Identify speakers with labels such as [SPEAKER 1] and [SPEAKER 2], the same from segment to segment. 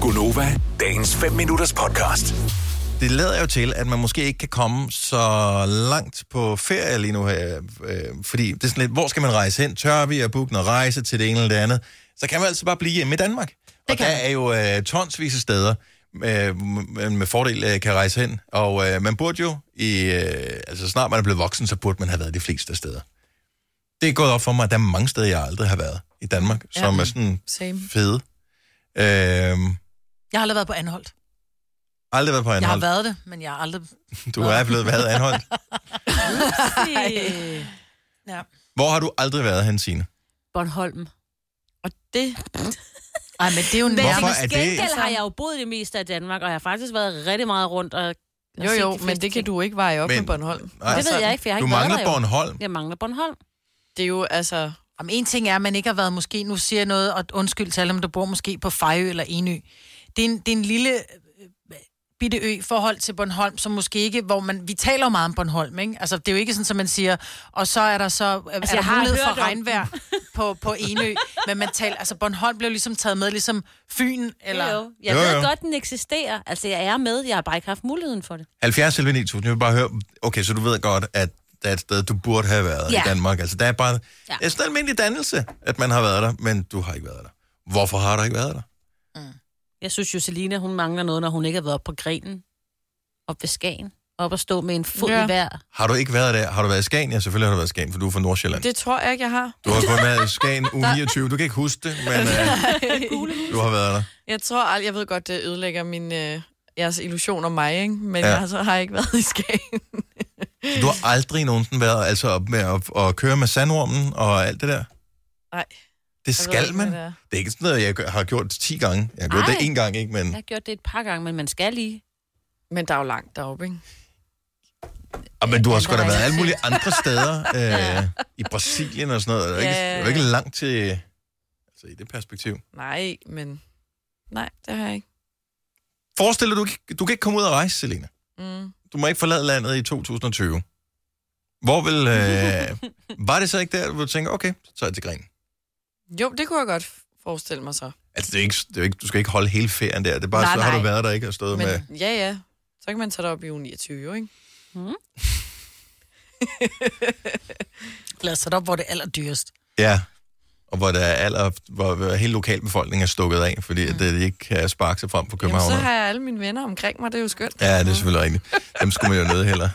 [SPEAKER 1] Gunova, dagens 5 minutters podcast.
[SPEAKER 2] det lader jo til, at man måske ikke kan komme så langt på ferie lige nu her, øh, fordi det er sådan lidt, hvor skal man rejse hen? Tør vi at booke noget rejse til det ene eller det andet? Så kan man altså bare blive hjemme i Danmark. og
[SPEAKER 3] kan
[SPEAKER 2] der
[SPEAKER 3] man.
[SPEAKER 2] er jo øh, tonsvis af steder, øh, man med fordel øh, kan rejse hen. Og øh, man burde jo, i, øh, altså snart man er blevet voksen, så burde man have været de fleste steder. Det er gået op for mig, at der er mange steder, jeg aldrig har været i Danmark,
[SPEAKER 3] Ja.
[SPEAKER 2] som er sådan
[SPEAKER 3] Same.
[SPEAKER 2] fede. Øh,
[SPEAKER 3] Jeg har aldrig været på Anholdt.
[SPEAKER 2] aldrig været på
[SPEAKER 3] Jeg har
[SPEAKER 2] Anholdt.
[SPEAKER 3] været det, men jeg har aldrig...
[SPEAKER 2] Du er blevet været anholdt.
[SPEAKER 4] Ej.
[SPEAKER 3] Ja.
[SPEAKER 2] Hvor har du aldrig været hen, Signe?
[SPEAKER 4] Bornholm. Og det...
[SPEAKER 3] Ej, men det er jo
[SPEAKER 4] Men
[SPEAKER 2] Hvorfor
[SPEAKER 3] nærmest...
[SPEAKER 2] er det-
[SPEAKER 4] til gengæld har jeg jo boet det meste af Danmark, og jeg har faktisk været rigtig meget rundt. Og og
[SPEAKER 5] Jo,
[SPEAKER 4] set
[SPEAKER 5] jo,
[SPEAKER 4] de
[SPEAKER 5] men
[SPEAKER 4] fleste
[SPEAKER 5] det kan
[SPEAKER 4] ting.
[SPEAKER 5] du ikke veje op
[SPEAKER 2] Men-
[SPEAKER 5] med Bornholm.
[SPEAKER 2] Nej.
[SPEAKER 3] Altså-
[SPEAKER 4] Det ved jeg ikke, for jeg har
[SPEAKER 2] Altså, Du
[SPEAKER 4] ikke været
[SPEAKER 2] mangler
[SPEAKER 4] der jo.
[SPEAKER 2] Bornholm.
[SPEAKER 4] Jeg mangler Bornholm.
[SPEAKER 5] Det er jo altså...
[SPEAKER 3] Jamen, en ting er, at man ikke har været måske... Nu siger jeg noget, og undskyld til alle, om du bor måske på Fejø eller Enø. Det er en, det er en lille øh, bitte ø i forhold til Bornholm, som måske ikke, hvor man, vi taler jo meget om Bornholm, ikke? Altså, det er jo ikke sådan, at man siger, og så er der så altså, er der
[SPEAKER 4] jeg har
[SPEAKER 3] mulighed
[SPEAKER 4] hørt
[SPEAKER 3] for
[SPEAKER 4] om
[SPEAKER 3] regnvejr på, på Enø, men man taler, altså Bornholm blev ligesom taget med, ligesom Fyn, eller...
[SPEAKER 4] Eller? Jo, jeg
[SPEAKER 2] Jo,
[SPEAKER 4] jo,
[SPEAKER 2] jo.
[SPEAKER 4] ved godt, den eksisterer. Altså, jeg er med. Jeg har bare ikke haft muligheden for det.
[SPEAKER 2] 70 11 9000, jeg vil bare høre, okay, så du ved godt, at der er et sted, du burde have været ja.
[SPEAKER 4] Ja.
[SPEAKER 2] i Danmark. Altså, der er bare, ja.
[SPEAKER 4] Ja.
[SPEAKER 2] det er sådan en almindelig dannelse, at man har været der, men du har ikke været der. Hvorfor har du ikke været der?
[SPEAKER 4] Jeg synes jo, Selina, hun mangler noget, når hun ikke har været op på grenen. Op ved Skagen. Op og stå med en fod ja.
[SPEAKER 5] Ja.
[SPEAKER 4] i hver.
[SPEAKER 2] Har du ikke været der? Har du været i Skagen? Ja, selvfølgelig har du været i Skagen, for du er fra Nordsjælland. Det...
[SPEAKER 5] Det tror jeg ikke, jeg har.
[SPEAKER 2] Du har kun været i Skagen u 29. Du kan ikke huske det, men øh, du har været der.
[SPEAKER 5] Jeg tror aldrig, jeg ved godt, det ødelægger min, øh, jeres illusion om mig, ikke? men
[SPEAKER 2] Ja.
[SPEAKER 5] ja. jeg altså, har ikke været i Skagen.
[SPEAKER 2] Så Du har aldrig nogensinde været altså, op med at, at køre med sandormen og alt det der?
[SPEAKER 5] Nej.
[SPEAKER 2] Det
[SPEAKER 5] Jeg ved
[SPEAKER 2] skal
[SPEAKER 5] ikke,
[SPEAKER 2] man.
[SPEAKER 5] hvad det
[SPEAKER 2] Det
[SPEAKER 5] er.
[SPEAKER 2] er ikke sådan noget, jeg gør- har gjort 10 gange. Jeg har gjort
[SPEAKER 4] Ej.
[SPEAKER 2] det én gang, ikke? Men
[SPEAKER 4] Jeg har gjort det et par gange, men man skal lige.
[SPEAKER 5] Men der er jo langt deroppe, ikke?
[SPEAKER 2] Og Ah, men du har sgu da
[SPEAKER 4] der er
[SPEAKER 2] været
[SPEAKER 4] ikke
[SPEAKER 2] alle mulige andre steder, øh, i Brasilien og sådan noget. Det er jo ikke,
[SPEAKER 5] Ja.
[SPEAKER 2] det er jo ikke langt til, altså i det perspektiv.
[SPEAKER 5] Nej, men... Nej, det har jeg ikke.
[SPEAKER 2] Forestil dig, du, ikke- du kan ikke komme ud og rejse, Selina.
[SPEAKER 5] Mm.
[SPEAKER 2] Du må ikke forlade landet i 2020. Hvor vil, øh, var det så ikke der, hvor du tænker, okay, så tager jeg til Gren.
[SPEAKER 5] Jo, det kunne jeg godt forestille mig så.
[SPEAKER 2] Altså, det er ikke, det er ikke, du skal ikke holde hele ferien der. Det er bare, nej,
[SPEAKER 5] Nej,
[SPEAKER 2] så har
[SPEAKER 5] nej.
[SPEAKER 2] du været der ikke og stået
[SPEAKER 5] Men
[SPEAKER 2] men... med...
[SPEAKER 5] ja, ja. Så kan man tage det op i uge 29, jo, ikke?
[SPEAKER 4] Hmm?
[SPEAKER 3] Lad os sætte op, hvor det er allerdyrest.
[SPEAKER 2] Ja, og hvor, der er aller, hvor, hvor hele lokalbefolkningen er stukket af, fordi mm. det, de ikke kan sparke sig frem på
[SPEAKER 5] Jamen,
[SPEAKER 2] København.
[SPEAKER 5] så har jeg alle mine venner omkring mig, det er jo skønt.
[SPEAKER 2] Ja, det er selvfølgelig rigtigt. Dem skulle man jo nødt heller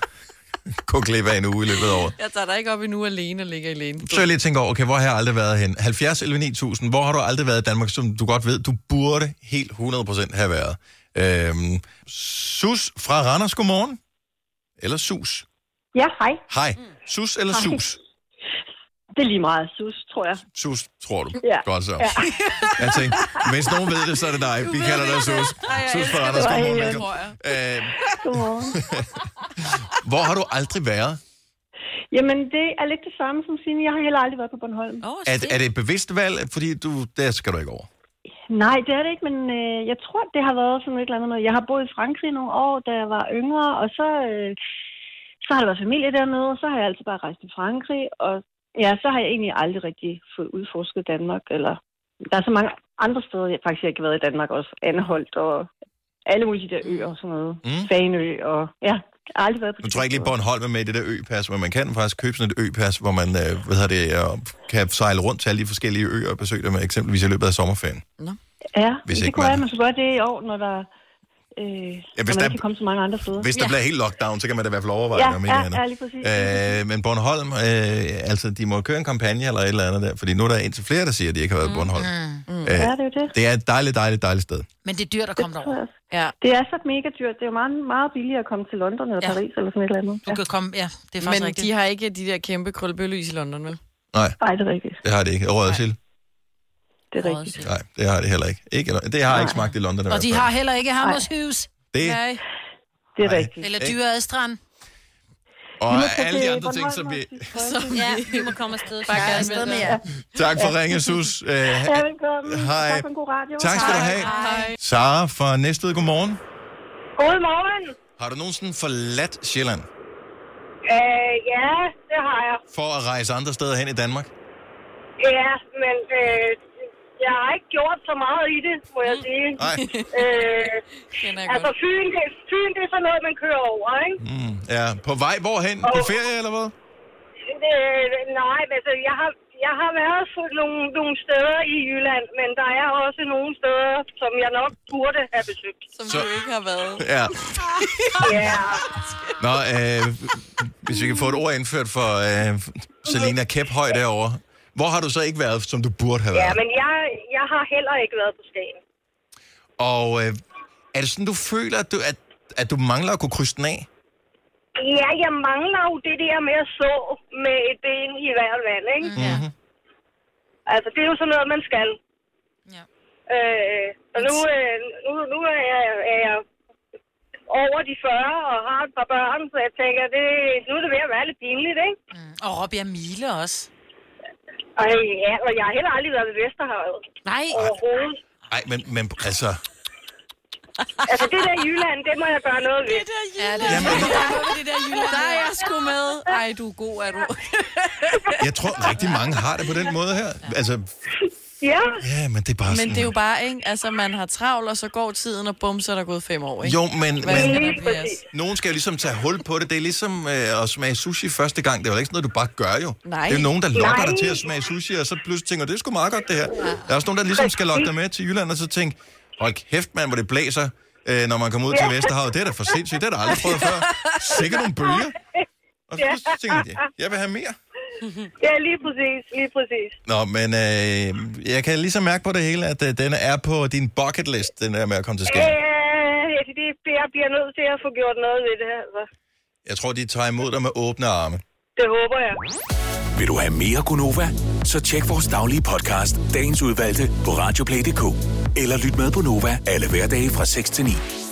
[SPEAKER 2] gå glip af en uge i løbet af året.
[SPEAKER 5] Jeg tager dig ikke op endnu alene og ligger alene.
[SPEAKER 2] Så jeg lige tænker over, okay, hvor har jeg aldrig været hen? 70 11 9000, hvor har du aldrig været i Danmark, som du godt ved, du burde helt 100% have været? Øhm, sus fra Randers, godmorgen. Eller sus.
[SPEAKER 6] Ja, hej.
[SPEAKER 2] Hej. Sus eller
[SPEAKER 6] Hej.
[SPEAKER 2] sus?
[SPEAKER 6] Det er lige meget sus, tror jeg.
[SPEAKER 2] Sus, tror du.
[SPEAKER 6] Ja.
[SPEAKER 2] Godt så. Jeg tænkte, hvis nogen ved det, så er det dig. Vi kalder dig sus. Sus fra Randers,
[SPEAKER 6] det.
[SPEAKER 2] godmorgen.
[SPEAKER 6] Ej,
[SPEAKER 2] velkommen. Øhm,
[SPEAKER 6] Godmorgen.
[SPEAKER 2] hvor har du aldrig været?
[SPEAKER 6] Jamen, det er lidt det samme som Signe. Jeg har heller aldrig været på Bornholm.
[SPEAKER 4] Åh,
[SPEAKER 2] Er,
[SPEAKER 4] se.
[SPEAKER 2] er det et bevidst valg? Fordi du, der skal du ikke over.
[SPEAKER 6] Nej, det er det ikke, men øh, jeg tror, det har været sådan et eller andet noget. Jeg har boet i Frankrig nogle år, da jeg var yngre, og så, øh, så har der været familie dernede, og så har jeg altid bare rejst til Frankrig, og ja, så har jeg egentlig aldrig rigtig fået udforsket Danmark, eller der er så mange andre steder, jeg faktisk ikke har været i Danmark også, Anholdt og alle mulige de der øer og sådan noget,
[SPEAKER 2] Mm.
[SPEAKER 6] mm. Fanø, og ja, jeg har aldrig været på
[SPEAKER 2] Nu
[SPEAKER 6] de
[SPEAKER 2] tror jeg ikke lige,
[SPEAKER 6] steder.
[SPEAKER 2] Bornholm er med i det der øpas, men man kan faktisk købe sådan et øpas, hvor man øh, hvad hedder det, øh, kan sejle rundt til alle de forskellige øer og besøge dem, eksempelvis i løbet af sommerferien.
[SPEAKER 6] Ja,
[SPEAKER 2] Hvis
[SPEAKER 6] hvis
[SPEAKER 2] ikke
[SPEAKER 6] det kunne
[SPEAKER 2] man-
[SPEAKER 6] være, at man skulle gøre det i år, når der, øh, ja,
[SPEAKER 2] hvis
[SPEAKER 6] når man
[SPEAKER 2] der-
[SPEAKER 6] ikke kan komme så mange andre steder.
[SPEAKER 2] Hvis der ja. bliver helt lockdown, så kan man da i hvert fald overveje
[SPEAKER 6] ja,
[SPEAKER 2] det, om ikke
[SPEAKER 6] ja,
[SPEAKER 2] andet.
[SPEAKER 6] ja, lige
[SPEAKER 2] Øh,
[SPEAKER 6] præcis.
[SPEAKER 2] men Bornholm, øh, altså de må køre en kampagne eller et eller andet der, fordi nu er der indtil flere, der siger, at de ikke har været på Bornholm. Mm. Øh,
[SPEAKER 6] ja, det er jo det.
[SPEAKER 2] det er et dejligt, dejligt, dejligt sted.
[SPEAKER 3] Men det er dyrt at komme derover.
[SPEAKER 5] Ja.
[SPEAKER 6] Det er så mega dyrt. Det er jo meget, meget billigere at komme til London eller
[SPEAKER 3] Ja.
[SPEAKER 6] ja. Paris eller sådan et eller andet.
[SPEAKER 3] Du kan komme, ja, det er faktisk
[SPEAKER 5] Men
[SPEAKER 3] rigtigt.
[SPEAKER 5] de har ikke de der kæmpe krøllebølgelys i London, vel?
[SPEAKER 2] Nej,
[SPEAKER 6] Nej, det er rigtigt.
[SPEAKER 2] det har det ikke. Røget til?
[SPEAKER 6] Det er rigtigt.
[SPEAKER 2] Nej, det har det heller ikke. ikke det har jeg ikke
[SPEAKER 6] Nej.
[SPEAKER 2] smagt i London. i
[SPEAKER 3] Og
[SPEAKER 2] hvert
[SPEAKER 3] de
[SPEAKER 2] fald.
[SPEAKER 3] har heller ikke Hammershus.
[SPEAKER 2] det.
[SPEAKER 5] Nej.
[SPEAKER 6] Det er
[SPEAKER 2] Ej.
[SPEAKER 6] rigtigt.
[SPEAKER 3] Eller Dyreadstrand.
[SPEAKER 2] Og
[SPEAKER 6] Så
[SPEAKER 2] alle de
[SPEAKER 6] det er
[SPEAKER 2] andre ting, som
[SPEAKER 6] Bornholm
[SPEAKER 2] vi...
[SPEAKER 6] og Tyskland.
[SPEAKER 4] Ja, vi må komme afsted.
[SPEAKER 5] Bare
[SPEAKER 4] Ja,
[SPEAKER 5] gerne med
[SPEAKER 4] afsted med
[SPEAKER 5] dig.
[SPEAKER 4] jer.
[SPEAKER 2] Tak for ringe, Sus. Øh,
[SPEAKER 6] Ja, velkommen.
[SPEAKER 2] Hej.
[SPEAKER 6] Tak for en god radio.
[SPEAKER 2] tak skal du have. Sara fra Næstved, godmorgen.
[SPEAKER 6] Godmorgen.
[SPEAKER 2] Har du nogensinde forladt Sjælland
[SPEAKER 6] Øh, ja, det har jeg.
[SPEAKER 2] for at rejse andre steder hen i Danmark?
[SPEAKER 6] Ja, men øh,
[SPEAKER 7] jeg har ikke gjort så meget i det, må jeg sige.
[SPEAKER 2] Nej.
[SPEAKER 7] Øh,
[SPEAKER 5] Kender jeg
[SPEAKER 7] altså,
[SPEAKER 5] Mm. godt.
[SPEAKER 7] Fyn det, Fyn, det er sådan noget, man kører over, ikke?
[SPEAKER 2] Mm, ja. På vej hvorhen? På ferie eller hvad?
[SPEAKER 7] Øh, nej, men altså, jeg har, jeg har været på nogle, nogle steder i Jylland, men der er også nogle steder, som jeg nok burde have besøgt.
[SPEAKER 5] Som
[SPEAKER 2] Så-
[SPEAKER 5] du ikke har været.
[SPEAKER 2] Ja.
[SPEAKER 7] Ja,
[SPEAKER 2] Nå, øh, hvis vi kan få et ord indført for øh, Selina Kæphøj derovre. Hvor har du så ikke været, som du burde have
[SPEAKER 7] ja
[SPEAKER 2] været?
[SPEAKER 7] men jeg, jeg har heller ikke været på Skagen.
[SPEAKER 2] Og øh, er det sådan, du føler, at du, at, at du mangler at kunne krydse den af?
[SPEAKER 7] Ja, jeg mangler jo det der med at så med et ben i hvert vand, ikke?
[SPEAKER 3] Ja.
[SPEAKER 7] Altså, det er jo sådan noget, man skal.
[SPEAKER 3] Ja.
[SPEAKER 7] Øh, og nu, øh, nu, nu er, jeg, er jeg over de 40 og har et par børn, så jeg tænker, det, nu er det ved at være lidt pinligt, ikke?
[SPEAKER 3] Mm. Og Robbie og Mile også.
[SPEAKER 7] Og, ja, og jeg har heller aldrig været ved Vesterhavet
[SPEAKER 4] Nej,
[SPEAKER 7] overhovedet.
[SPEAKER 2] Nej, men, men altså...
[SPEAKER 7] Altså, det der Jylland, det må jeg gøre noget ved.
[SPEAKER 5] Ja, det er
[SPEAKER 2] Jamen,
[SPEAKER 5] det der Jylland. Der er jeg sgu med. Ej, du er god, er du.
[SPEAKER 2] jeg tror rigtig mange har det på den måde her. Altså,
[SPEAKER 7] Ja,
[SPEAKER 2] ja, men det er bare
[SPEAKER 5] Men
[SPEAKER 2] sådan...
[SPEAKER 5] det er jo bare, ikke? Altså, man har travlt, og så går tiden, og bum, så er der gået fem år, ikke?
[SPEAKER 2] Jo, men,
[SPEAKER 5] Hvad skal
[SPEAKER 2] men
[SPEAKER 5] der
[SPEAKER 7] Lige
[SPEAKER 5] plads?
[SPEAKER 7] præcis.
[SPEAKER 2] nogen skal jo ligesom tage hul på det. Det er ligesom øh, at smage sushi første gang. Det er jo ikke sådan noget, du bare gør jo.
[SPEAKER 5] Nej.
[SPEAKER 2] Det er jo nogen, der lokker
[SPEAKER 7] Nej.
[SPEAKER 2] dig til at smage sushi, og så pludselig tænker, det er sgu meget godt det her. Der er også nogen, der ligesom skal lokke dig med til Jylland, og så tænker, hold kæft mand, hvor det blæser, øh, når man kommer ud til Vesterhavet. Det er da for sindssygt, det har der aldrig prøvet før. Sikkert nogle bølger. Og så tænker jeg, jeg vil have mere.
[SPEAKER 7] ja, lige præcis, lige præcis.
[SPEAKER 2] Nå, men øh, jeg kan ligesom mærke på det hele, at øh, den er på din bucket list, den der med at komme til Skagen.
[SPEAKER 7] Øh, det, jeg bliver nødt til at få gjort noget ved det her, altså.
[SPEAKER 2] Jeg tror, de tager imod dig med åbne arme.
[SPEAKER 7] Det håber jeg.
[SPEAKER 1] Vil du have mere Gunova? Så tjek vores daglige podcast, dagens udvalgte, på radioplay.dk. Eller lyt med på Nova alle hverdage fra 6 til 9.